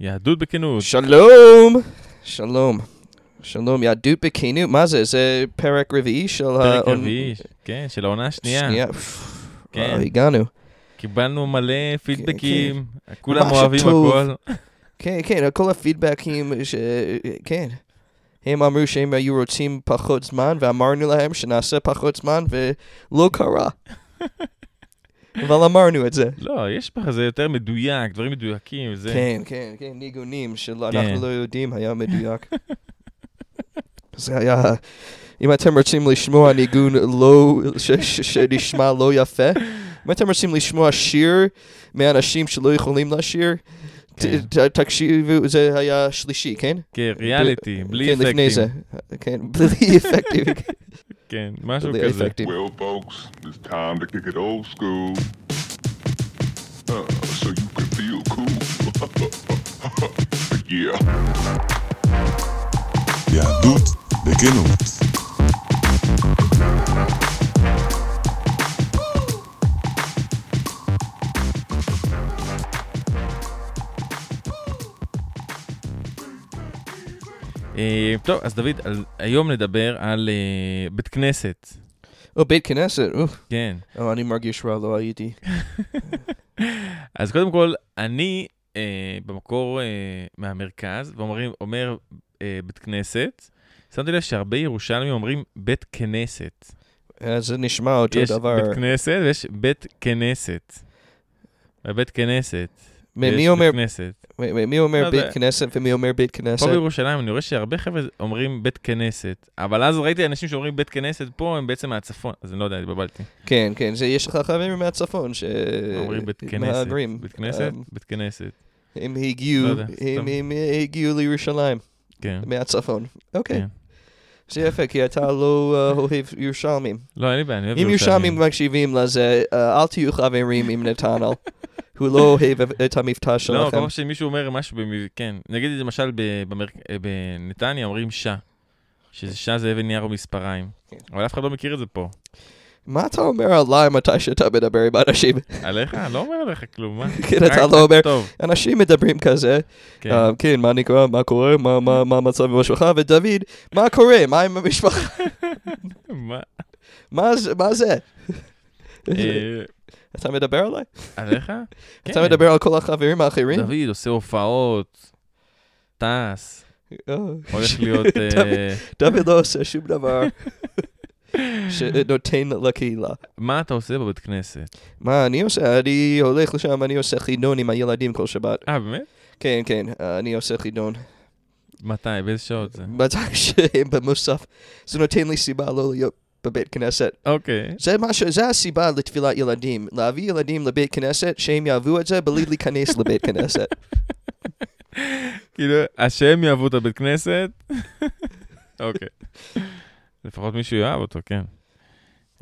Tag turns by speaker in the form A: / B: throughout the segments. A: יהדות בכנות.
B: שלום! שלום. שלום, יהדות בכנות, מה זה? זה פרק רביעי של
A: פרק
B: העונ-
A: רביעי, כן, של העונה השנייה.
B: אה, שנייה. אה,
A: כן.
B: וואו, הגענו.
A: קיבלנו מלא פידבקים, כולם
B: כן, ממש
A: אוהבים
B: טוב.
A: הכל.
B: כן, כן, כל הפידבקים, ש... כן. הם אמרו שהם היו רוצים פחות זמן, ואמרנו להם שנעשה פחות זמן, ולא קרה. אבל אמרנו את זה.
A: לא, יש בך, זה יותר מדויק, דברים מדויקים, זה...
B: כן, כן, כן, ניגונים
A: כן.
B: שאנחנו לא יודעים, היה מדויק. זה היה... אם אתם רוצים לשמוע ניגון לא... ש- ש- שנשמע לא יפה, אם אתם רוצים לשמוע שיר מאנשים שלא יכולים לשיר, ת-
A: כן.
B: ת- תקשיבו, זה היה שלישי, כן?
A: כן, ריאליטי, בלי
B: כן, לפני זה.
A: אפקטים.
B: כן, בלי אפקטים.
A: כן, משהו
B: בלי
A: כזה.
B: אפקטים.
C: Well, folks, it's time to kick it old school. Uh, so you can feel cool. yeah.
D: יהדות בכנות.
A: אה, טוב, אז דוד, על- היום נדבר על אה, בית כנסת.
B: או בית כנסת, או,
A: כן.
B: או, אני מרגיש רע, לא הייתי.
A: אז קודם כל, אני אה, במקור אה, מהמרכז, ואומרים, אומר אה, בית כנסת. שמתי לב שהרבה ירושלמים אומרים בית כנסת.
B: אה, זה נשמע אותו
A: יש
B: דבר.
A: בית כנסת ויש בית כנסת. בית כנסת. ויש
B: מ- מי אומר
A: בית כנסת.
B: מי- מי- מי אומר
A: לא
B: בית
A: יודע.
B: כנסת ומי אומר בית
A: פה
B: כנסת?
A: בירושלים אני רואה שהרבה חבר'ה אומרים בית כנסת, אבל אז ראיתי אנשים שאומרים בית כנסת פה, הם בעצם מהצפון, אז אני לא יודע, התבלבלתי.
B: כן, כן, זה יש לך חברים מהצפון ש...
A: אומרים
B: uh,
A: בית כנסת.
B: אה, מהגרים.
A: בית כנסת?
B: אמ,
A: בית כנסת,
B: הם הגיעו,
A: לא יודע,
B: הם-
A: סתם.
B: הם הגיעו לירושלים
A: כן.
B: מהצפון. אוקיי,
A: כן.
B: זה יפה, כי אתה לא אה, אוהב ירושלמים.
A: לא, אין לי בעיה, אני אוהב
B: אם ירושלמים מקשיבים לזה, אה, אל תהיו חברים עם נתנאל. הוא לא אוהב את המבטא
A: לא, כל
B: שלכם.
A: פעם שמישהו אומר משהו, במ- כן, נגיד את זה למשל ב- במרק- אה, בנתניה אומרים שע, ששע זה אבן נייר ומספריים,
B: כן.
A: אבל אף אחד לא מכיר את זה פה.
B: מה אתה אומר עליי מתי שאתה מדבר עם אנשים?
A: עליך? לא אומר עליך כלום, מה?
B: כן, אתה
A: רק-
B: לא אומר.
A: טוב,
B: אנשים מדברים כזה,
A: כן.
B: אה, כן, מה נקרא, מה קורה, מה- מה מה המצב עם המשפחה, ודוד, מה קורה, מה עם המשפחה? אה,
A: מה?
B: מה זה? מה זה?
A: אה,
B: אתה מדבר עליי?
A: עליך?
B: אתה
A: כן.
B: מדבר על כל החברים האחרים?
A: דוד עושה הופעות, טס,
B: אה.
A: הולך להיות... אה,
B: דוד לא עושה שום דבר שנותן לקהילה.
A: מה אתה עושה בבית כנסת?
B: מה אני עושה? אני הולך לשם, אני עושה חידון עם הילדים כל שבת.
A: אה, באמת?
B: כן, כן, אה, אני עושה חידון.
A: מתי? באיזה שעות זה?
B: מתי שהם במוסף, זה נותן לי סיבה לא להיות בבית כנסת.
A: אוקיי.
B: זה מה ש... זה הסיבה לתפילת ילדים. להביא ילדים לבית כנסת, שהם יאהבו את זה בלי להיכנס לבית כנסת.
A: כאילו, השם יאהבו את הבית כנסת? אוקיי. לפחות מישהו יאהב אותו, כן.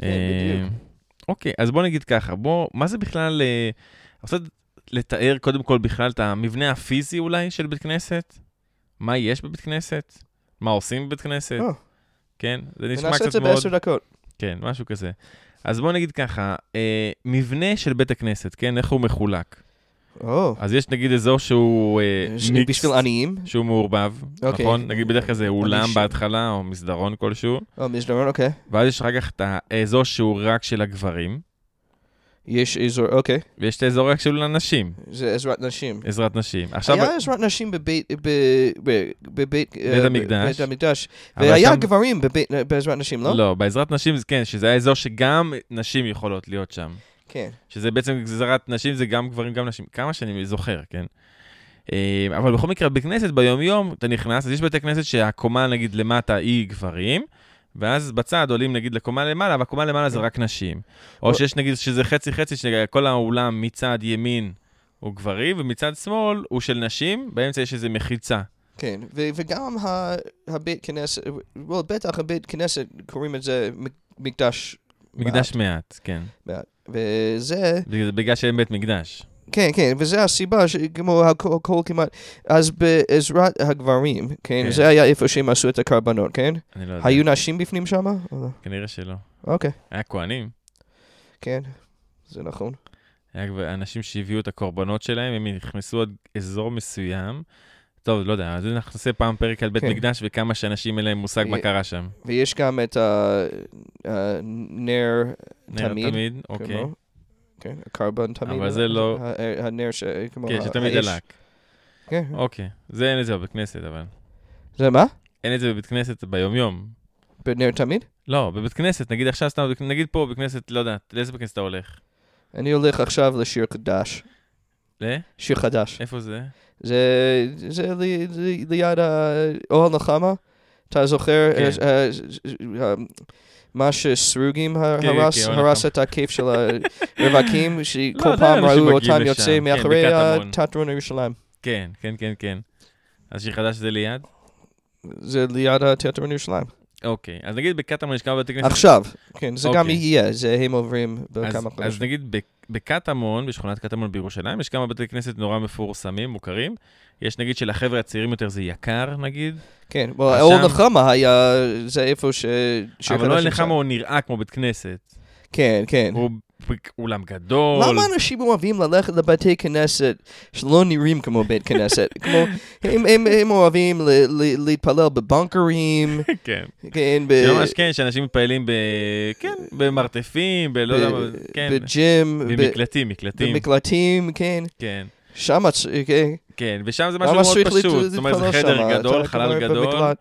B: כן,
A: אה,
B: בדיוק.
A: אוקיי, אז בוא נגיד ככה, בוא, מה זה בכלל... אה, רוצה לתאר קודם כל בכלל את המבנה הפיזי אולי של בית כנסת? מה יש בבית כנסת? מה עושים בבית כנסת?
B: אה.
A: כן, זה נשמע קצת מאוד...
B: נעשה את זה בעשר דקות.
A: כן, משהו כזה. אז בוא נגיד ככה, אה, מבנה של בית הכנסת, כן, איך הוא מחולק.
B: או,
A: אז יש נגיד אזור שהוא אה,
B: ש-
A: מיקס,
B: אה, בשביל עניים?
A: שהוא מעורבב,
B: אוקיי.
A: נכון? נגיד בדרך כלל זה אולם
B: ש-
A: בהתחלה, או מסדרון כלשהו,
B: או, מסדרון, אוקיי.
A: ואז יש אחר כך את האזור שהוא רק של הגברים,
B: יש אזור, אוקיי.
A: ויש את האזור רק של הנשים,
B: זה עזרת נשים.
A: עזרת נשים. עכשיו,
B: היה עזרת נשים בבית, ב- ב- בבית, אה,
A: המקדש.
B: בבית המקדש.
A: אבל
B: והיה
A: שם-
B: גברים בבית- בעזרת נשים, לא?
A: לא, בעזרת נשים, זה כן, שזה האזור שגם נשים יכולות להיות שם.
B: כן.
A: שזה בעצם גזרת נשים, זה גם גברים, גם נשים, כמה שאני זוכר, כן? אה, אבל בכל מקרה, בכנסת ביום-יום אתה נכנס, אז יש בתי כנסת שהקומה נגיד למטה היא גברים, ואז בצד עולים נגיד לקומה למעלה, והקומה למעלה זה רק נשים. או
B: כן. או-
A: שיש נגיד שזה חצי-חצי, שכל האולם מצד ימין הוא גברי, ומצד שמאל הוא של נשים, באמצע יש איזה מחיצה.
B: כן, ו- וגם ה- הבית כנסת, well, בטח הבית כנסת, קוראים את זה מק- מקדש.
A: מקדש מעט, כן.
B: מעט. וזה,
A: בגלל- בגלל שאין בית מקדש.
B: כן, כן, וזה הסיבה, ש- כמו הכל הכל כמעט, אז בעזרת הגברים, כן,
A: כן.
B: זה היה איפה שהם עשו את הקרבנות, כן?
A: אני לא יודע,
B: היו נשים בפנים שם?
A: כנראה שלא.
B: אוקיי,
A: היה כהנים?
B: כן, זה נכון.
A: היה כבר אנשים שהביאו את הקורבנות שלהם, הם נכנסו עד אזור מסוים. טוב, לא יודע, אז אנחנו נעשה פעם פרק על בית
B: כן.
A: מקדש וכמה שאנשים אין להם מושג מה
B: אה,
A: קרה שם.
B: ויש גם את הנר
A: נר
B: תמיד.
A: תמיד, אוקיי.
B: כמו- כן, הקרבן תמיד.
A: אבל זה לא-
B: ה- הנר ש... כמו
A: כן,
B: ה-
A: שתמיד
B: האש.
A: דלק.
B: כן.
A: אוקיי. זה אין את זה בבית כנסת, אבל.
B: זה מה?
A: אין את זה בבית כנסת ביום-יום.
B: בנר תמיד?
A: לא, בבית כנסת, נגיד עכשיו סתם, נגיד פה בבית כנסת, לא יודע, לאיזה בית כנסת אתה הולך?
B: אני הולך עכשיו לשיר חדש.
A: ל?
B: שיר חדש.
A: איפה זה?
B: זה, זה לי, לי, ליד האוהל נחמה. אתה זוכר
A: כן.
B: אה, אה, אה, מה שסרוגים ה-
A: כן,
B: הרס,
A: כן, אוהל
B: הרס את הכיף של הרווקים,
A: לא,
B: שכל
A: עדיין
B: פעם
A: אנשים
B: ראו
A: מגיעים
B: אותם
A: לשם,
B: יוצא
A: כן,
B: מאחורי
A: בקטמון.
B: התיאטרון ירושלים.
A: כן, כן, כן, כן. אז שיר חדש זה ליד?
B: זה ליד התיאטרון ירושלים.
A: אוקיי. אז נגיד בקטמון יש כמה בתי כנסת.
B: עכשיו, כן, זה גם
A: אוקיי.
B: יהיה, זה הם עוברים
A: אז-
B: בכמה
A: אז
B: חודשים.
A: נגיד בק- בקטמון, בשכונת קטמון בירושלים, יש כמה בתי כנסת נורא מפורסמים, מוכרים. יש נגיד שלחבר'ה הצעירים יותר זה יקר, נגיד.
B: כן, אבל
A: אז
B: אוהל
A: שם-
B: נחמה היה, זה איפה ש... שיר
A: אבל לא
B: חדש
A: אין
B: נמצא.
A: הוא נראה כמו בית כנסת.
B: כן, כן.
A: הוא ב- אולם גדול.
B: למה אנשים לא אוהבים ללכת לבתי כנסת שלא נראים כמו בית כנסת? כמו, הם, הם, הם אוהבים ל, ל, להתפלל בבונקרים,
A: כן.
B: כן, ב,
A: ממש כן, שאנשים מתפעלים ב... כן, במרתפים, בלא יודע מה, כן.
B: בג'ים, אה, ב-
A: במקלטים, מקלטים,
B: במקלטים, כן,
A: כן.
B: שם, הצ- כן.
A: כן, ושם זה משהו
B: למה
A: מאוד
B: צריך לת-
A: פשוט. זאת אומרת, זה
B: להתפלל שמה?
A: חדר
B: לא אתה
A: גדול,
B: רק
A: חלל
B: אומר
A: גדול.
B: במקלט.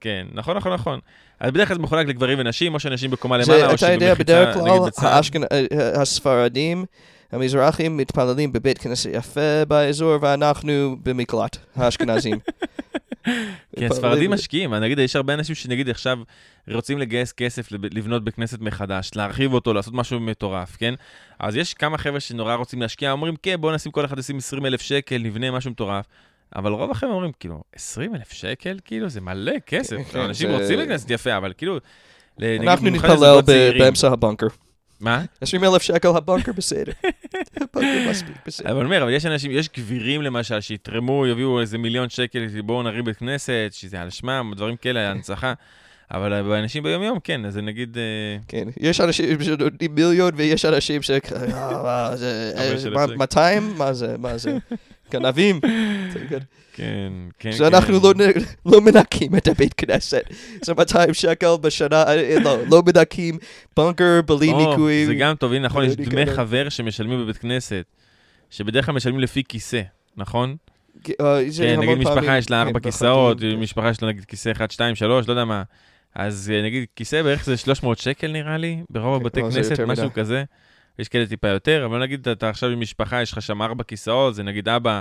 A: כן, נכון, נכון, נכון. אז בדרך כלל זה מחולק לגברים ונשים, או שאנשים בקומה
B: זה-
A: למעלה, או
B: אתה יודע,
A: שבמחיצה,
B: בדרך
A: נגיד
B: כלל
A: בצד.
B: האשכנ- אה, הספרדים, המזרחים מתפללים בבית כנסת יפה באזור, ואנחנו במקלט, האשכנזים.
A: כי הספרדים כן, משקיעים, אני אגיד, יש הרבה אנשים שנגיד עכשיו רוצים לגייס כסף לב- לבנות בית כנסת מחדש, להרחיב אותו, לעשות משהו מטורף, כן? אז יש כמה חבר'ה שנורא רוצים להשקיע, אומרים, כן, בואו נשים כל אחד ישים 20 אלף שקל, נבנה משהו מטורף. אבל רוב החבר'ה אומרים, כאילו, 20 אלף שקל? כאילו, זה מלא כסף.
B: כן,
A: אנשים
B: זה-
A: רוצים בית כנסת יפה, אבל כאילו... לנגיד,
B: אנחנו
A: במיוחד
B: נתפלל
A: לזוגות
B: ב-
A: צעירים.
B: באמצע הבונקר.
A: מה?
B: 20 אלף שקל הבונקר בסדר. הבונקר מספיק בסדר.
A: אבל אני אומר, אבל יש אנשים, יש גבירים למשל, שיתרמו, יביאו איזה מיליון שקל, בואו נרים בית כנסת, שזה על שמם, דברים כאלה, הנצחה. אבל אנשים ביום-יום, כן, אז זה נגיד... אה,
B: כן, יש אנשים שנותנים מיליון ויש אנשים ש... אה, מה זה, אה,
A: אבל של
B: מה-
A: הצ'ק.
B: 200? מה זה, מה זה? גנבים.
A: כן, כן.
B: שאנחנו
A: כן.
B: לא נ- לא מנקים את הבית כנסת. זה 200 שקל בשנה, אה, לא, לא מנקים, בונקר בלי
A: או,
B: ניקויים. לא
A: זה גם טוב, הנה, נכון,
B: בלי
A: יש דמי
B: ניקיון.
A: חבר שמשלמים בבית כנסת, שבדרך כלל משלמים לפי כיסא, נכון?
B: אה, זה
A: כן,
B: המון
A: נגיד
B: פעמים,
A: משפחה יש לה
B: כן,
A: ארבע
B: בחגים,
A: כיסאות,
B: כן.
A: משפחה יש לה נגיד כיסא 1, 2, 3, לא יודע מה. אז אה, נגיד כיסא בערך זה 300 שקל נראה לי, ברוב
B: כן,
A: הבתי
B: לא, זה
A: כנסת,
B: יותר
A: משהו
B: מדי.
A: כזה. יש כאלה טיפה יותר, אבל נגיד אתה עכשיו עם משפחה, יש לך שם ארבע כיסאות, זה נגיד אבא,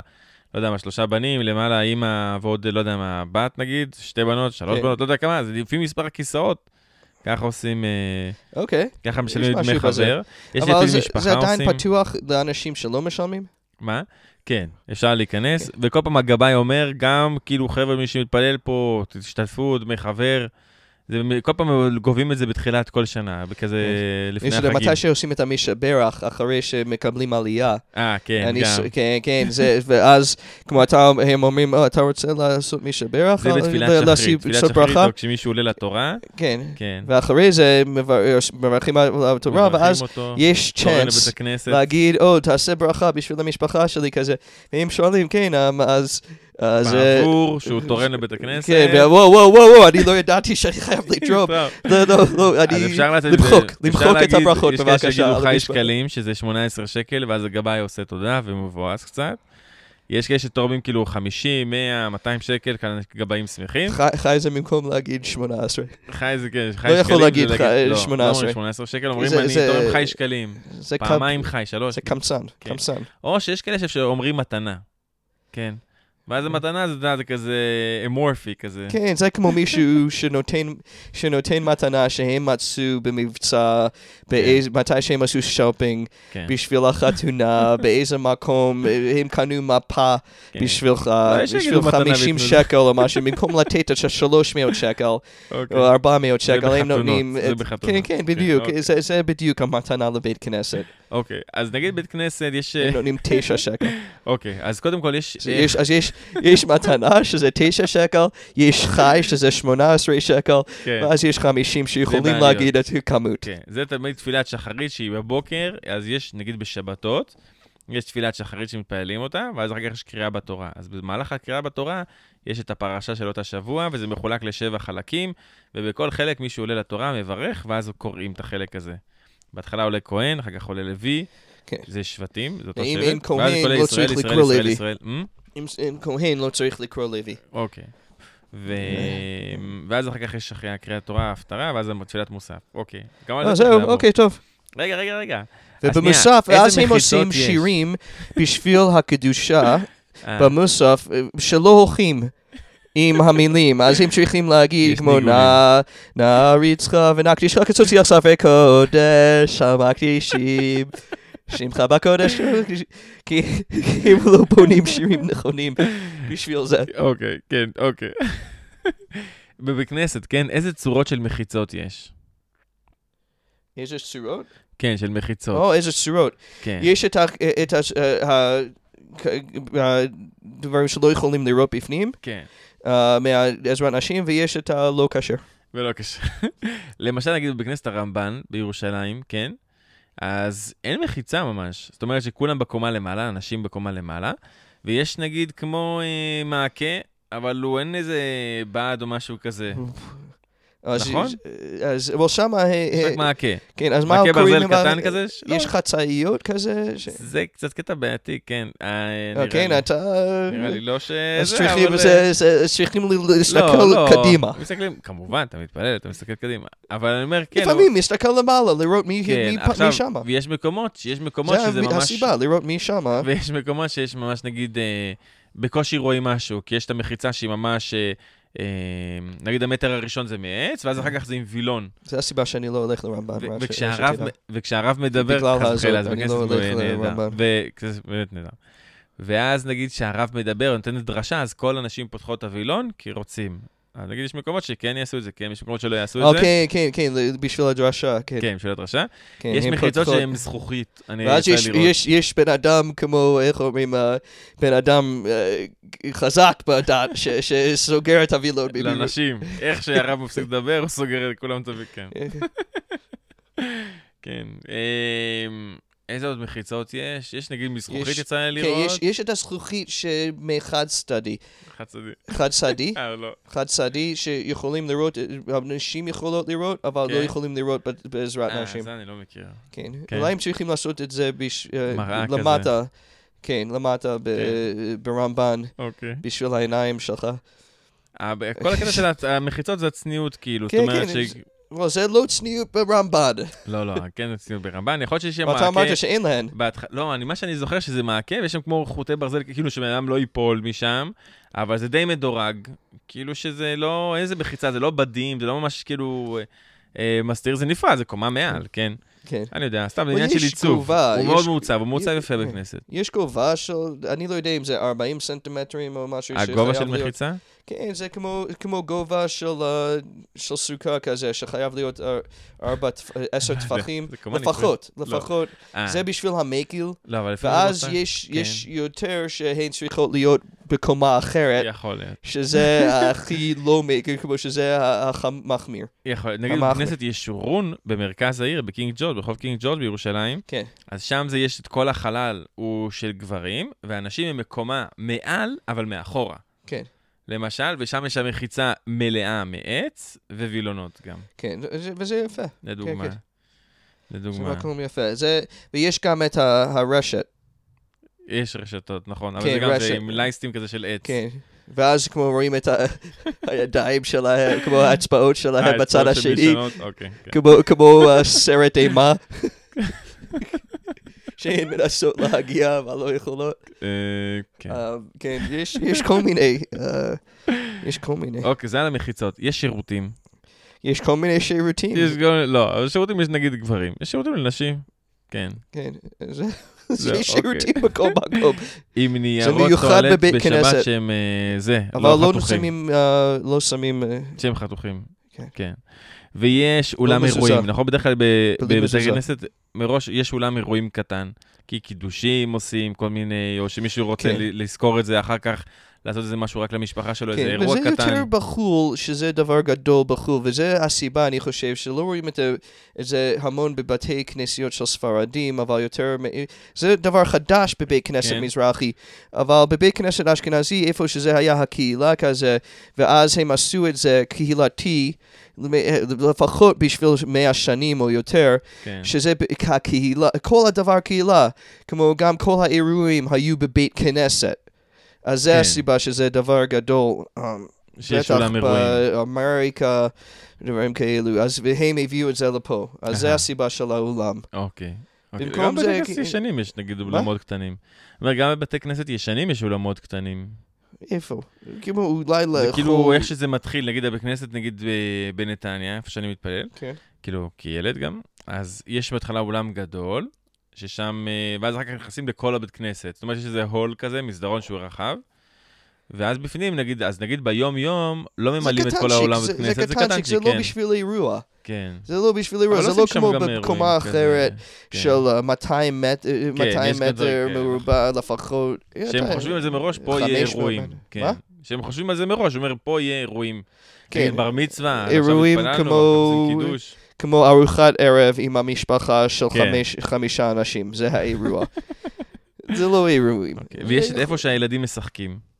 A: לא יודע מה, שלושה בנים, למעלה אימא ועוד, לא יודע מה, בת נגיד, שתי בנות, שלוש
B: כן.
A: בנות, לא יודע כמה, זה לפי מספר הכיסאות. ככה עושים, אה,
B: אוקיי.
A: ככה משלמים
B: משהו
A: דמי
B: בזה.
A: חבר. יש
B: אבל זה-
A: לפי משפחה
B: זה עדיין
A: עושים.
B: פתוח לאנשים שלא משלמים?
A: מה? כן, אפשר להיכנס,
B: כן.
A: וכל פעם הגבאי אומר, גם כאילו חבר'ה, מי שמתפלל פה, תשתתפו, דמי חבר. זה, כל פעם גובים את זה בתחילת כל שנה, בכזה לפני
B: יש
A: החגים.
B: מתי שעושים את המשברך אחרי שמקבלים עלייה.
A: אה, כן,
B: אני ש-
A: גם.
B: כן, כן, זה, ואז, כמו אתה, הם אומרים, "אה, אתה רוצה לעשות מישהו
A: זה בתפילת
B: לא,
A: שחרית, תפילת שחרית, או כשמישהו עולה לתורה,
B: כן.
A: כן.
B: ואחרי זה מבר- אה, מברכים על על התורה,
A: מברכים
B: ואז
A: אותו,
B: יש
A: קוראים
B: צ'אנס
A: לבית הכנסת.
B: להגיד, או, תעשה ברכה בשביל המשפחה שלי כזה. והם שואלים, כן, אמ, אז... אז... אה,
A: בעבור שהוא תורם לבית הכנסת.
B: כן, וואו, וואו, וואו, וואו, אני לא ידעתי שאני חייב לתרום.
A: טוב.
B: לא, לא, לא,
A: אז
B: אני...
A: אפשר לתת
B: למחוק,
A: אפשר
B: למחוק את
A: להגיד,
B: הברכות,
A: יש כאלה
B: בבקשה.
A: שיגידו
B: על
A: חי
B: המשפחה."
A: שקלים, שזה 18 שקל, ואז הגבאי עושה תודה ומבואס קצת. יש כאלה שתורמים כאילו 50, 100, 200 שקל, כאן גבאים שמחים.
B: חי- חי זה במקום להגיד 18.
A: חי זה כן, חי שקלים.
B: לא יכול
A: זה
B: להגיד חי-
A: לא,
B: 18.
A: לא אומרים 18 שקל, אומרים
B: זה-
A: אני
B: זה-
A: תורם חי שקלים.
B: זה קם-
A: פעמיים חי, שלוש.
B: זה קמצן,
A: כן.
B: קמצן.
A: או שיש כאלה שאומרים מתנה. כן. ואז המתנה זה, אתה יודע, זה כזה אמורפי כזה.
B: כן, זה כמו מישהו שנותן, שנותן מתנה שהם מצאו במבצע, באיז, מתי שהם עשו שופינג,
A: כן.
B: בשביל החתונה, באיזה מקום, הם קנו מפה
A: כן.
B: בשבילך,
A: לא, יש שיגידו
B: בשביל
A: מתנה
B: 50
A: ויתנו
B: שקל או משהו, במקום לתת את ה-300 שקל
A: אוקיי.
B: או 400 שקל, הם
A: בחתונות,
B: נותנים...
A: זה
B: את-
A: בחתונות.
B: כן, כן, בדיוק,
A: אוקיי.
B: זה- זה בדיוק המתנה לבית כנסת,
A: אוקיי, אז נגיד בית כנסת יש...
B: הם נותנים 9 שקל.
A: אוקיי, אז קודם כל יש...
B: אז יש- אז יש יש מתנה, שזה תשע שקל, יש חי, שזה שמונה עשרה שקל,
A: כן.
B: ואז יש חמישים שיכולים
A: בעליות.
B: להגיד את הכמות.
A: כן, זה תמיד תפילת שחרית שהיא בבוקר, אז יש, נגיד בשבתות, יש תפילת שחרית שמתפללים אותה, ואז אחר כך יש קריאה בתורה. אז במהלך הקריאה בתורה, יש את הפרשה של אותה שבוע, וזה מחולק לשבע חלקים, ובכל חלק מישהו עולה לתורה, מברך, ואז קוראים את החלק הזה. בהתחלה עולה כהן, אחר כך עולה לוי,
B: כן.
A: זה שבטים, זה אותו
B: ואם
A: שבט.
B: אין כהן,
A: ואז כל
B: לא
A: ישראל,
B: צריך
A: ישראל,
B: לקרוא
A: ישראל,
B: לוי.
A: ישראל. אמ?
B: אם אם כהן לא צריך לקרוא לוי.
A: אוקיי. ו...
B: אה.
A: ואז אחר כך יש אחרי הקריאת תורה, ההפטרה, ואז תפילת מוסף. אוקיי. גם על זה
B: אה,
A: צריך
B: זהו,
A: לעבור.
B: אוקיי, טוב.
A: רגע, רגע, רגע.
B: ובמוסף,
A: איזה
B: ואז הם
A: מחיצות
B: עושים
A: יש?
B: שירים בשביל הקדושה,
A: אה,
B: במוסף, אה, שלא הולכים עם המילים, אז הם צריכים
A: יש
B: להגיד כמו
A: ניגונים.
B: נא, נעריצך ונקדישך קצוצי עכשיו וקודש המקדישים. שמחה בקודש, כי כי הם לא בונים שירים נכונים בשביל זה.
A: אוקיי, כן, אוקיי. בבית כנסת, כן? איזה צורות של מחיצות יש?
B: איזה צורות?
A: כן, של מחיצות.
B: או, איזה צורות.
A: כן.
B: אוקיי, יש את ה- את ה- ה- ה- הדברים שלא יכולים לראות בפנים,
A: כן.
B: אה, מעזרת נשים, ויש את הלא כשר.
A: ולא קשה. למשל, נגיד בבית כנסת הרמב"ן בירושלים, כן? אז אין מחיצה ממש. זאת אומרת שכולם בקומה למעלה, אנשים בקומה למעלה, ויש נגיד כמו אה, מעקה, אבל הוא אין איזה בעד או משהו כזה.
B: אז-
A: נכון?
B: אז, אבל שמה, אה,
A: יש
B: אה,
A: רק מעקה.
B: כן, אז מה
A: מעקה
B: קוראים
A: ברזל
B: למה-
A: קטן כזה? ש-
B: יש
A: לא,
B: חצאיות כזה? ש-
A: זה קצת קטע בעייתי, כן. אה,
B: אה,
A: נראה
B: כן,
A: לי.
B: אתה...
A: נראה לי לא ש...
B: אז
A: זה,
B: צריכים-
A: אבל,
B: זה-
A: אה,
B: זה- צריכים ל-
A: לא,
B: להסתכל
A: לא,
B: קדימה.
A: מסתכלים, כמובן, אתה מתפלל, אתה מסתכל קדימה. אבל אני אומר, כן.
B: לפעמים להסתכל למעלה, לראות מי
A: הוא- כן,
B: מי פ-
A: עכשיו,
B: מי שמה.
A: ויש מקומות, שיש מקומות שזה
B: זה
A: ממש...
B: הסיבה, לא? לראות מי שמה.
A: ויש מקומות שיש ממש, נגיד, אה, בקושי רואים משהו, כי יש את המחיצה שהיא ממש... אה, אה, נגיד המטר הראשון זה מעץ, ואז
B: אה.
A: אחר כך זה עם וילון.
B: זה הסיבה שאני לא הולך לרמב"ן.
A: ו-
B: רק ש-
A: וכשהרב-
B: שתדע.
A: וכשהרב מדבר,
B: בגלל
A: חס
B: הזאת,
A: וחלילה, אז
B: אני
A: בכנסת
B: לא
A: הוא
B: הולך
A: נהדר.
B: לרמב"ם.
A: וכזה באמת נהדר. ואז נגיד שהרב מדבר, נותן דרשה, אז כל הנשים פותחות את הווילון, כי רוצים. אז נגיד יש מקומות שכן יעשו את זה, כן, יש מקומות שלא יעשו את זה.
B: אוקיי, כן, כן, ל- בשביל הדרשה, כן.
A: כן, של הדרשה.
B: כן,
A: יש
B: הם
A: מחיצות
B: פותחות-
A: שהן זכוכית, אני
B: ואז
A: רוצה
B: יש,
A: לראות.
B: יש, יש בן אדם כמו, איך אומרים, אה, בן אדם אה, חזק בדת, ש, שסוגר את הווילות. במהירות.
A: לאנשים, איך שהרב מפסיק לדבר, הוא סוגר את כולם טובים, כן. כן. אמ, איזה עוד מחיצות יש? יש נגיד מזכוכית
B: יש-
A: יצא לי
B: כן,
A: לראות?
B: יש, יש את הזכוכית שמחד צדדי,
A: חד צדדי.
B: חד צדדי,
A: אה, לא.
B: חד צדדי, שיכולים לראות, אה, נשים יכולות לראות, אבל לא
A: כן.
B: יכולים לראות ב- בעזרת
A: אה,
B: נשים.
A: זה אני לא מכיר.
B: כן.
A: כן.
B: אולי הם צריכים לעשות את זה בש... אה,
A: מראה כזה. כן.
B: למטה, כן, למטה ב- ברמב"ן,
A: אוקיי.
B: בשביל העיניים שלך.
A: אה, ב- כל הקטע של הצ- המחיצות זה הצניעות, כאילו, זאת
B: כן,
A: אומרת
B: כן,
A: ש...
B: אבל זה לא צניעות ברמב"ן.
A: לא, לא, כן, זה צניעות ברמב"ן, יכול להיות שיש שם
B: אתה
A: מעקה.
B: אמרת שאין להן.
A: בהתח... לא, אני, מה שאני זוכר שזה מעקה, ויש שם כמו חוטי ברזל, כאילו שבן אדם לא ייפול משם, אבל זה די מדורג, כאילו שזה לא, אין איזה מחיצה, זה לא בדים, זה לא ממש כאילו אה, אה, מסתיר, זה נפרד, זה קומה מעל, כן?
B: כן.
A: אני יודע, סתם, זה
B: אבל
A: עניין של
B: יש
A: עיצוב.
B: תגובה,
A: הוא
B: יש-
A: מאוד מעוצב, הוא מעוצב
B: יש- כן.
A: יפה בכנסת.
B: יש גובה של, אני לא יודע אם זה 40 סנטימטרים או משהו שחייב
A: הגובה אה, של
B: להיות-
A: מחיצה?
B: כן, זה כמו, כמו גובה של, אה, של סוכה כזה, שחייב להיות אה, ארבע, טפ- אה, עשר טפחים,
A: זה כמובן
B: לפחות,
A: לא.
B: לפחות.
A: אה,
B: זה בשביל המקל,
A: לא, אבל לפעמים זה
B: ואז
A: מוצא.
B: יש,
A: כן.
B: יש יותר שהן צריכות להיות בקומה אחרת,
A: יכול להיות.
B: שזה הכי לא מקל, כמו שזה ה- המחמיר.
A: יכול, נגיד
B: המחמיר.
A: בכנסת יש שורון במרכז העיר, בקינג ג'ורג', ברחוב קינג ג'ורג' בירושלים,
B: כן.
A: אז שם זה יש את כל החלל הוא של גברים, ואנשים הם מקומה מעל, אבל מאחורה.
B: כן.
A: למשל, ושם יש המחיצה מלאה מעץ ווילונות גם,
B: כן, וזה- וזה יפה.
A: לדוגמה.
B: כן, כן. זה
A: לדוגמה.
B: מקום יפה. זה, ויש גם את ה- הרשת,
A: יש רשתות, נכון, אבל
B: כן,
A: זה גם
B: רשת.
A: זה עם לייסטים כזה של עץ.
B: כן. ואז כמו רואים את ה- הידיים שלהם, כמו האצבעות שלהם
A: העצות
B: בצד השני,
A: שמשנות, אוקיי, כן.
B: כמו- כמו אה, סרט אימה. שהן מנסות להגיע, אבל לא יכולות.
A: אה, כן.
B: אה, כן, יש- יש כל מיני, אה, יש כל מיני.
A: אוקיי, זה על המחיצות. יש שירותים.
B: יש כל מיני שירותים.
A: יש גם, לא, אבל שירותים יש נגיד גברים. יש שירותים לנשים. כן.
B: כן, זה-
A: זה-
B: יש
A: אוקיי.
B: שירותים בכל מקום.
A: עם ניירות
B: מיוחד
A: טואלט
B: בבית
A: בשבת
B: כנסת.
A: שהם אה, זה,
B: אבל
A: לא
B: לא
A: חתוכים.
B: שמים, אה, לא שמים, אה,
A: שהם חתוכים,
B: כן. לא
A: כן. ויש אולם
B: מזוזה.
A: אירועים, נכון? בדרך כלל ב-
B: בלי
A: בבית
B: מזוזה.
A: הכנסת מראש יש אולם אירועים קטן, כי קידושים עושים, כל מיני, או שמישהו רוצה
B: כן.
A: ל- לזכור את זה אחר כך, לעשות איזה משהו רק למשפחה שלו, איזה
B: כן,
A: אירוע
B: וזה יותר
A: קטן.
B: בחו"ל, שזה דבר גדול בחו"ל, וזה הסיבה, אני חושב, שלא רואים את ה- את זה המון בבתי כנסיות של ספרדים, אבל יותר... מ- זה דבר חדש בבית כנסת
A: כן.
B: מזרחי, אבל בבית כנסת אשכנזי, איפה שזה היה הקהילה כזה, ואז הם עשו את זה קהילתי, למ- לפחות בשביל 100 שנים או יותר,
A: כן.
B: שזה ב- הקהילה, כל הדבר קהילה, כמו גם כל האירועים היו בבית כנסת. אז זה
A: כן.
B: הסיבה שזה דבר גדול. אמ,
A: שיש אולם
B: בטח
A: אירועים.
B: באמריקה, דברים כאלו. אז הם הביאו את זה לפה. אז זה
A: אהה.
B: הסיבה של האולם.
A: אוקיי. אוקיי.
B: במקום
A: גם
B: זה,
A: בבתי כנסת
B: כי-
A: ישנים יש נגיד אולמות קטנים. אני אומר, גם בבתי כנסת ישנים יש אולמות קטנים.
B: איפה? כמו אולי לאכול.
A: זה כאילו איך שזה מתחיל, נגיד בבית כנסת, נגיד אה, בנתניה, איפה שאני מתפלל,
B: כן.
A: כאילו כילד גם, אז יש בהתחלה אולם גדול, ששם, אה, ואז אחר כך נכנסים לכל הבית כנסת. זאת אומרת שיש איזה הול כזה, מסדרון שהוא רחב. ואז בפנים, נגיד, אז נגיד ביום-יום לא
B: זה
A: ממלאים את כל
B: קטנצ'יק,
A: העולם
B: זה-
A: בית כנסת,
B: זה קטנצ'יק, זה לא
A: כן,
B: בשביל אירוע.
A: כן.
B: זה לא בשביל אירוע,
A: אבל
B: זה
A: עושים
B: לא
A: שם
B: כמו
A: גם אירועים
B: בקומה
A: כזה,
B: אחרת
A: כן.
B: של אה, 200 מטר- אה,
A: כן,
B: 200
A: יש כזה,
B: מטר
A: כן.
B: מרובע לפחות.
A: שהם
B: אתה-
A: חושבים על זה מראש, פה יהיה
B: 500
A: אירועים.
B: מטר.
A: כן.
B: מה?
A: שהם חושבים על זה מראש, הוא אומר, פה יהיה אירועים.
B: כן.
A: כן. בר מצווה,
B: אירועים
A: עכשיו התפללנו,
B: כמו-
A: אנחנו עושים קידוש.
B: כמו ארוחת ערב עם המשפחה של
A: כן.
B: חמש- חמישה אנשים, זה האירוע. זה לא אירועים. לא-
A: אוקיי, ויש את איפה שהילדים משחקים.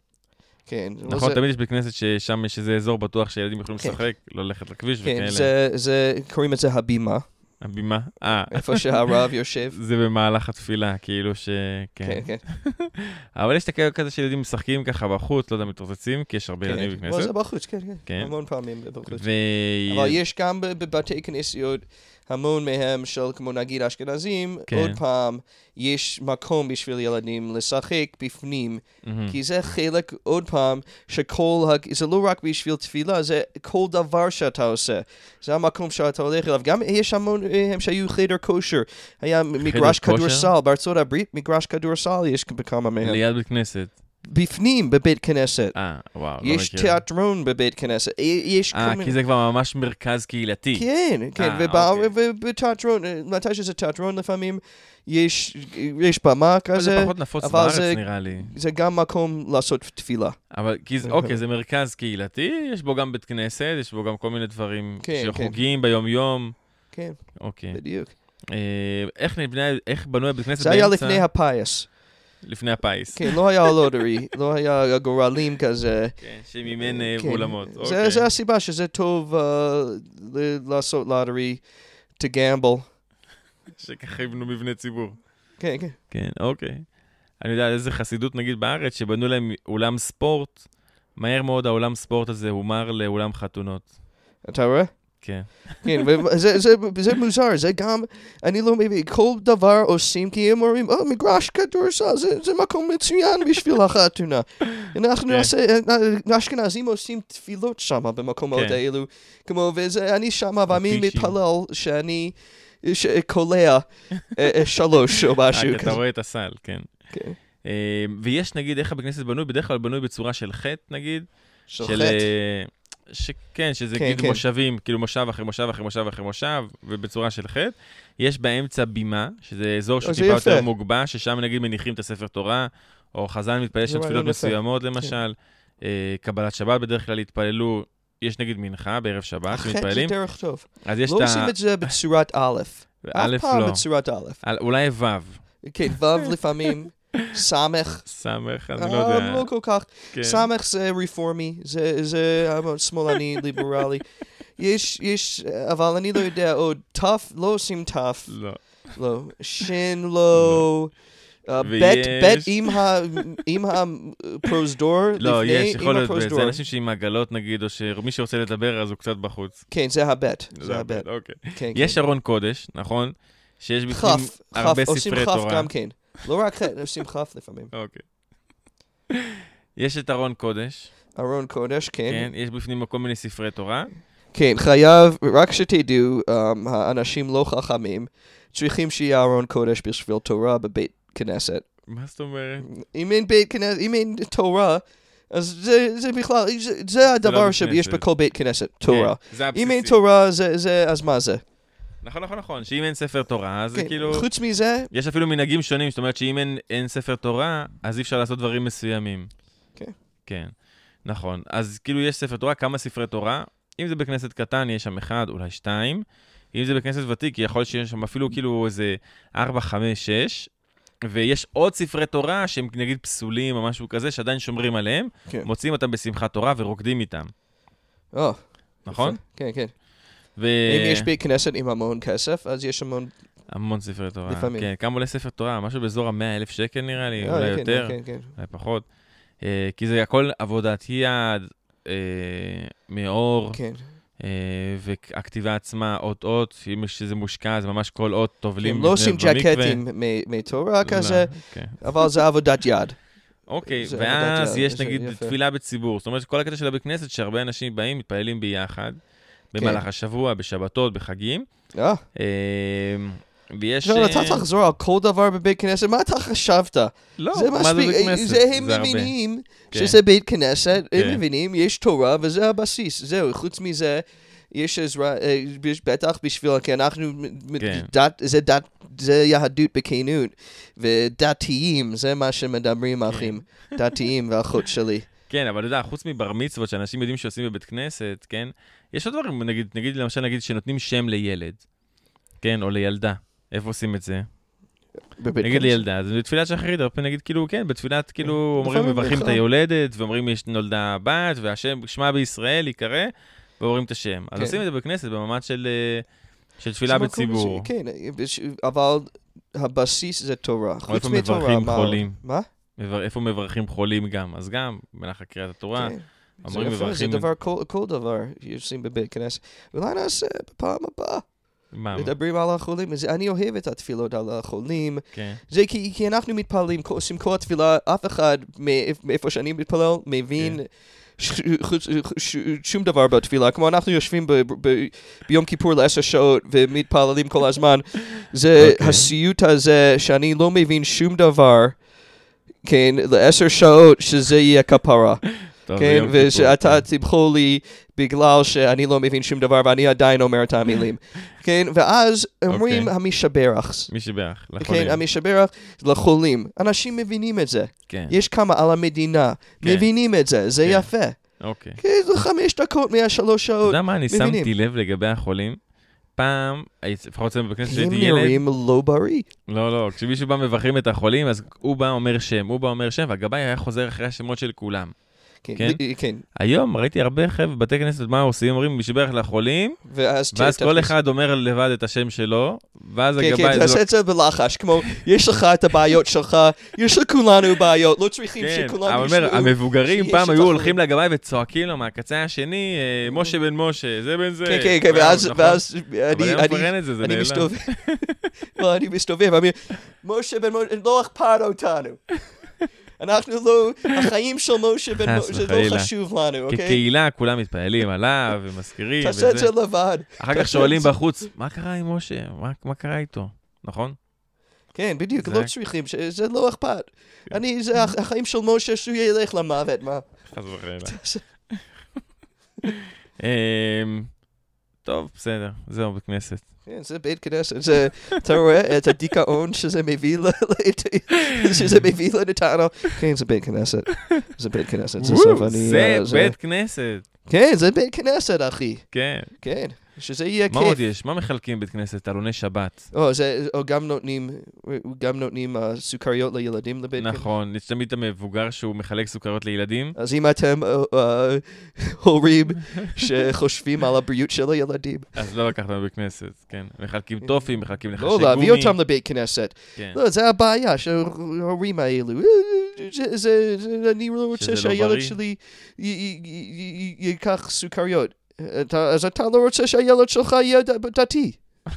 B: כן, לא
A: נכון,
B: זה-
A: תמיד יש בכנסת ששם יש איזה אזור בטוח שילדים יכולים
B: כן.
A: לשחק, ללכת לכביש
B: כן,
A: וכאלה.
B: זה, זה, קוראים לזה הבימה,
A: הבימה. אה,
B: איפה שהרב יושב.
A: זה במהלך התפילה, כאילו ש...
B: כן,
A: כן.
B: כן.
A: אבל יש את הקטע כזה שילדים משחקים ככה בחוץ, לא יודע, מתרוצצים, כי יש הרבה ילדים
B: כן. לא,
A: בכנסת.
B: זה בחוץ, כן, כן.
A: כן.
B: המון פעמים בחוץ.
A: ו...
B: אבל יש גם ב- בבתי כנסיות, המון מהם של כמו נגיד אשכנזים,
A: כן.
B: עוד פעם, יש מקום בשביל ילדים לשחק בפנים,
A: מהמם.
B: כי זה חלק, עוד פעם, שכל, הג- זה לא רק בשביל תפילה, זה כל דבר שאתה עושה. זה המקום שאתה הולך אליו. גם יש המון אה, הם שהיו חדר כושר. היה מגרש
A: כושר?
B: כדורסל, בארצות הברית מגרש כדורסל יש בכמה מהם.
A: ליד בית כנסת.
B: בפנים, בבית כנסת.
A: אה, וואו, לא מכיר.
B: יש תיאטרון בבית כנסת. אה, יש
A: אה,
B: כל מיני...
A: כי זה כבר ממש מרכז קהילתי.
B: כן, כן,
A: אה,
B: ובא-
A: אוקיי.
B: ובתיאטרון, אה, מתי שזה תיאטרון לפעמים, יש יש במה
A: אבל זה
B: כזה,
A: פחות נפוץ
B: אבל
A: בארץ,
B: זה-
A: נראה לי.
B: זה גם מקום לעשות תפילה.
A: אבל כי זה,
B: אוקיי.
A: אוקיי, זה מרכז קהילתי, יש בו גם בית כנסת, יש בו גם כל מיני דברים
B: כן,
A: של
B: כן.
A: חוגים ביום-יום.
B: כן,
A: אוקיי.
B: בדיוק.
A: אה, איך נבנה, איך בנוי הבית כנסת
B: זה היה
A: באמצע?
B: לפני הפיס.
A: לפני הפיס.
B: כן, לא היה לוטרי, לא היה גורלים כזה.
A: כן, שמימן אה,
B: כן.
A: אולמות.
B: זה-
A: אוקיי.
B: זה הסיבה שזה טוב אה, ל- לעשות לוטרי, to gamble.
A: שככה יבנו מבנה ציבור.
B: כן, כן.
A: כן, אוקיי. אני יודע על איזה חסידות, נגיד, בארץ, שבנו להם אולם ספורט, מהר מאוד האולם ספורט הזה הומר לאולם חתונות.
B: אתה רואה?
A: כן.
B: כן, וזה זה- זה מוזר, זה גם, אני לא מבין, כל דבר עושים כי הם אומרים, או, מגרש כדורסל, זה זה מקום מצוין בשביל החתונה. אנחנו
A: כן.
B: נעשה, האשכנזים עושים תפילות שם במקומות
A: כן.
B: האלו, כמו, וזה, אני שם, ואני
A: טישים.
B: מתפלל שאני ש- קולע אה, אה, שלוש או משהו
A: אה, כי
B: כזה.
A: אתה רואה את הסל, כן.
B: כן.
A: אה, ויש, נגיד, איך הבית כנסת בנוי? בדרך כלל בנוי בצורה של חטא, נגיד. של...
B: חטא.
A: אה, שכן, שזה
B: כן,
A: כן,
B: כן.
A: כאילו מושבים, כאילו מושב אחרי מושב אחרי מושב אחרי מושב, ובצורה של חטא. יש באמצע בימה, שזה אזור
B: זה
A: שהוא טיפה
B: יפה.
A: יותר מוגבע, ששם נגיד מניחים את הספר תורה, או חזן מתפלל
B: זה
A: של
B: רעיון
A: תפילות
B: יפה. כן.
A: מסוימות למשל, אה, קבלת שבת בדרך כלל התפללו, יש נגיד מנחה בערב שבת,
B: החטא זה
A: שמתפללים,
B: דרך טוב.
A: אז יש
B: לא
A: את
B: עושים
A: ה...
B: את זה בצורת א', אף
A: א'
B: פעם
A: לא,
B: בצורת א'.
A: על- אולי ו',
B: כן, ו' לפעמים, סמך.
A: ס', אני לא יודע.
B: אה, לא כל כך.
A: כן.
B: סמך זה רפורמי, זה- זה המון שמאלני, ליברלי. יש, יש, אבל אני לא יודע עוד, תף, לא עושים תף,
A: לא.
B: לא, שין לא, אה, בית,
A: ויש-
B: בית עם ה- עם הפרוזדור,
A: לא, יש,
B: לפני, עם
A: יכול להיות,
B: הפרוזדור.
A: זה אנשים שעם עגלות נגיד, או שמי שרוצה לדבר אז הוא קצת בחוץ.
B: כן, זה הבית, זה הבית,
A: אוקיי.
B: כן, כן.
A: יש ארון קודש, נכון? שיש בפנים
B: חף, חף,
A: הרבה
B: עושים
A: ספרי
B: חף
A: תורה.
B: גם כן. לא רק חטא, עושים חף לפעמים.
A: אוקיי. יש את ארון קודש,
B: ארון קודש, כן.
A: כן? יש בפנים כל מיני ספרי תורה.
B: כן, חייב, רק שתדעו, um, האנשים לא חכמים צריכים שיהיה ארון קודש בשביל תורה בבית כנסת.
A: מה זאת אומרת?
B: אם אין בית כנסת, אם אין תורה, אז זה, זה בכלל, זה, זה הדבר
A: בית
B: שיש
A: כנסת.
B: בכל בית כנסת, תורה.
A: לא כן, זה
B: אם אין
A: הבסיסי.
B: תורה, זה, זה, אז מה זה?
A: נכון, נכון, נכון. שאם אין ספר תורה, אז זה
B: כן,
A: כאילו...
B: חוץ מזה,
A: יש אפילו מנהגים שונים, זאת אומרת שאם אין- אין ספר תורה, אז אי אפשר לעשות דברים מסוימים.
B: כן.
A: כן, נכון. אז כאילו יש ספר תורה, כמה ספרי תורה. אם זה בכנסת קטן, יש שם אחד, אולי שתיים. אם זה בכנסת ותיק, יכול להיות שיש שם אפילו כאילו איזה ארבע, חמש, שש. ויש עוד ספרי תורה שהם נגיד פסולים או משהו כזה, שעדיין שומרים עליהם,
B: כן.
A: מוצאים אותם בשמחת תורה ורוקדים איתם,
B: או,
A: נכון? אה.
B: יפה. אה. כן, כן.
A: ו...
B: אם יש בית כנסת עם המון כסף, אז יש המון...
A: המון ספרי תורה.
B: לפעמים.
A: כן, כמה עולה ספר תורה? משהו באזור המאה אלף שקל נראה לי,
B: אה,
A: אולי
B: כן,
A: יותר,
B: כן, כן.
A: אולי פחות. אה, כי זה הכל עבודת יד, אה, מאור,
B: כן.
A: אה, והכתיבה עצמה אות-אות, אם שזה מושקע, זה ממש כל אות טובלים.
B: הם לא
A: לפני
B: עושים
A: במקווה.
B: ג'קטים מ- מתורה
A: לא,
B: כזה,
A: כן.
B: אבל זה עבודת יד.
A: אוקיי,
B: זה
A: ואז
B: עבודת
A: יש
B: יד, זה
A: נגיד
B: יפה.
A: תפילה בציבור. זאת אומרת, כל הקטע של הבית כנסת, שהרבה אנשים באים, מתפללים ביחד,
B: כן.
A: במהלך השבוע, בשבתות, בחגים.
B: אה,
A: אה, ויש...
B: עכשיו
A: אה,
B: אתה תחזור על כל דבר בבית כנסת, מה אתה חשבת?
A: לא,
B: זה
A: מה זה
B: מספיק, אה,
A: בית כנסת?
B: זה הם
A: הרבה.
B: מבינים
A: כן.
B: שזה בית כנסת,
A: כן.
B: הם מבינים, יש תורה וזה הבסיס, זהו, חוץ מזה, יש עזרה, אה, יש בטח בשביל, כי אנחנו, מ- מ-
A: כן.
B: דת, זה דת, זה יהדות בכנות, ודתיים, זה מה שמדברים אחים, דתיים ואחות שלי.
A: כן, אבל אתה יודע, חוץ מבר מצוות שאנשים יודעים שעושים בבית כנסת, כן? יש עוד דברים, נגיד, נגיד למשל, נגיד שנותנים שם לילד, כן, או לילדה. איפה עושים את זה?
B: בבית
A: נגיד
B: כנסת.
A: לילדה, אז בתפילת שחרית, הרבה פעמים נגיד, כאילו, כן, בתפילת, כאילו, אומרים,
B: לפעמים
A: מברכים את
B: בכלל.
A: היולדת, ואומרים, יש נולדה בת, והשם, שמה בישראל ייקרא, ואומרים את השם. אז
B: כן.
A: עושים את זה בכנסת במעמד של אה, של תפילה
B: זה מקום
A: בציבור.
B: ש- כן, אה, בש- אבל הבסיס זה תורה, חוץ
A: איפה
B: מתורה,
A: מברכים
B: מה?
A: חולים?
B: מה?
A: מבר- איפה מברכים חולים גם? אז גם, במהלך קריאת התורה,
B: כן. זה
A: אומרים,
B: יפה, זה
A: מברכים...
B: דבר, כל, כל דבר שעושים בבית כנסת. אולי נעשה בפעם הבאה,
A: מה?
B: מדברים על החולים. אז אני אוהב את התפילות על החולים.
A: כן.
B: זה כי, כי אנחנו מתפללים, כל- עושים כל התפילה, אף אחד מאיפ- מאיפה שאני מתפלל מבין
A: כן.
B: ש- חוץ- ש- שום דבר בתפילה. כמו אנחנו יושבים ב, ב, ביום כיפור לעשר שעות ומתפללים כל הזמן. זה
A: אוקיי.
B: הסיוט הזה שאני לא מבין שום דבר. כן, לעשר שעות שזה יהיה כפרה.
A: טוב, זה
B: כן,
A: יום כיפור,
B: ושאתה
A: כן.
B: תמחו לי בגלל שאני לא מבין שום דבר ואני עדיין אומר את המילים. כן, ואז אומרים
A: אוקיי. נכון,
B: המשברך.
A: מי שבח,
B: כן,
A: לחולים.
B: המשברך לחולים. אנשים מבינים את זה.
A: כן,
B: יש כמה על המדינה,
A: כן.
B: מבינים את זה, זה
A: כן.
B: יפה.
A: אוקיי.
B: כן, זה חמש דקות מהשלוש
A: אתה
B: שעות.
A: יודע מה אני
B: מבינים.
A: שמתי לב לגבי החולים? פעם, הייתי- לפחות אצלנו בכנסת
B: הם
A: כשהייתי ילד,
B: נראים לא בריא.
A: לא, לא, כשמישהו בא מברכים את החולים, אז הוא בא אומר שם, הוא בא אומר שם, והגבאי היה חוזר אחרי השמות של כולם.
B: כן,
A: כן?
B: ל- כן. היום.
A: היום ראיתי הרבה חבר'ה בבתי כנסת, מה עושים? אומרים, משבח לחולים,
B: ואז ת-
A: ואז כל
B: תכניס-
A: אחד אומר לבד את השם שלו, ואז
B: כן,
A: הגבאי...
B: כן,
A: זה לא-
B: תעשה את זה בלחש, כמו, יש לך את הבעיות שלך, יש לכולנו בעיות, לא צריכים
A: כן,
B: שכולנו
A: אבל אומר,
B: ישמעו.
A: המבוגרים
B: שיש את
A: פעם היו
B: החולים.
A: הולכים לגבאי וצועקים לו מהקצה השני, אה, משה בן משה, זה בן זה.
B: כן, כן, כן, ואז,
A: נכון.
B: ואז,
A: אבל
B: אני,
A: היום כבר אין
B: אני,
A: את זה, זה
B: אני
A: נעלם.
B: מסתובב, לא, אני מסתובב, אני, משה בן משה, לא אכפת אותנו. אנחנו לא, החיים של משה בן
A: חס
B: משה, זה
A: וחלילה.
B: לא חשוב לנו, אוקיי?
A: כקהילה כולם מתפללים עליו ומזכירים
B: תעשה את
A: וזה.
B: זה לבד.
A: אחר
B: תעשה
A: כך
B: את
A: שואלים
B: זה.
A: בחוץ, מה קרה עם משה? מה- מה קרה איתו? נכון?
B: כן, בדיוק,
A: זה-
B: לא צריכים, ש- זה לא אכפת. אני, זה הח- החיים של משה, שהוא ילך למוות, מה?
A: חס וחלילה. אמ, טוב, בסדר, זהו בכנסת.
B: כן, זה בית כנסת, זה, אתה רואה את הדיכאון שזה מביא ל... ל- שזה מביא לנתנו? כן, זה בית כנסת, זה בית כנסת, זה סוף,
A: וואו,
B: אני...
A: זה
B: אה,
A: בית כנסת,
B: כן, זה בית כנסת, אחי.
A: כן.
B: כן, שזה יהיה
A: מה עוד
B: כיף.
A: יש? מה מחלקים בית כנסת? עלוני שבת.
B: או, זה, או גם נותנים, גם נותנים אה, סוכריות לילדים לבית כנסת.
A: נכון, יש תמיד את המבוגר שהוא מחלק סוכריות לילדים.
B: אז אם אתם אה, אה, הורים שחושבים על הבריאות של הילדים,
A: אז לא לקחת מבית כנסת, כן. מחלקים טופים, מחלקים לחשי גומי.
B: לא להביא אותם לבית כנסת.
A: כן.
B: לא, זה הבעיה שההורים האלו. אה, זה- זה- זה- אני לא
A: שזה
B: רוצה
A: לא
B: שהילד
A: בריא.
B: שלי י- י- י- י- ייקח סוכריות. אתה- אז אתה לא רוצה שהילד שלך יהיה ד- דתי.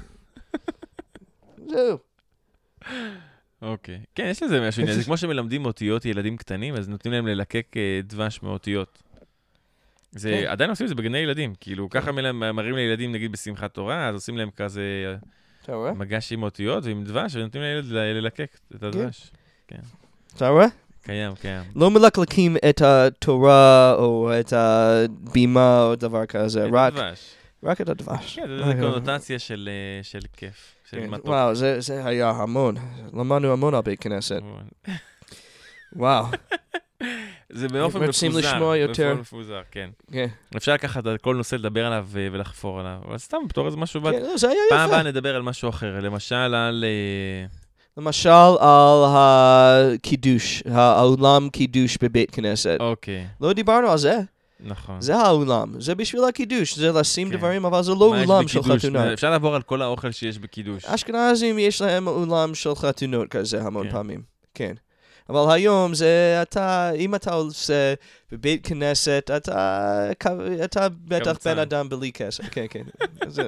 B: זהו.
A: אוקיי. כן, יש לזה משהו עניין. זה כמו שמלמדים אותיות ילדים קטנים, אז נותנים להם ללקק אה, דבש מאותיות. זה,
B: כן.
A: עדיין עושים את זה בגני ילדים. כאילו, ככה מל- מראים לילדים, נגיד, בשמחת תורה, אז עושים להם כזה
B: אתה רואה?
A: מגש עם אותיות ועם דבש, ונותנים לילד ל- ללקק את
B: כן.
A: הדבש.
B: אתה רואה?
A: קיים, קיים.
B: לא מלקלקים את התורה או את הבימה או דבר כזה,
A: את
B: רק-
A: הדבש.
B: רק את הדבש.
A: כן, זה- זה
B: אוי, אוי,
A: קונוטציה של אה, של כיף, של
B: אוי.
A: מתוק.
B: כן, וואו, זה זה היה המון. למדנו המון על בית כנסת. וואו.
A: זה באופן
B: רוצים
A: מפוזר.
B: לשמוע יותר.
A: באופן מפוזר, כן.
B: כן.
A: אפשר לקחת על כל נושא, לדבר עליו אה, ולחפור עליו, אבל סתם, בתור איזה משהו...
B: כן, לא, זה היה
A: פעם
B: יפה.
A: הבאה נדבר על משהו אחר, למשל על... אה,
B: למשל, על הקידוש, האולם קידוש בבית כנסת.
A: אוקיי,
B: לא דיברנו על זה.
A: נכון.
B: זה האולם, זה בשביל הקידוש, זה לשים
A: כן.
B: דברים, אבל זה לא
A: מה יש
B: אולם של
A: בקידוש? אה,
B: חתונה. אה,
A: אפשר לעבור על כל האוכל שיש בקידוש.
B: אשכנזים יש להם אולם של חתונות כזה המון
A: כן.
B: פעמים, כן. אבל היום זה אתה, אם אתה עושה בבית כנסת, אתה, כ- אתה בטח
A: קמצן.
B: בן אדם בלי כסף, כן, כן. זה-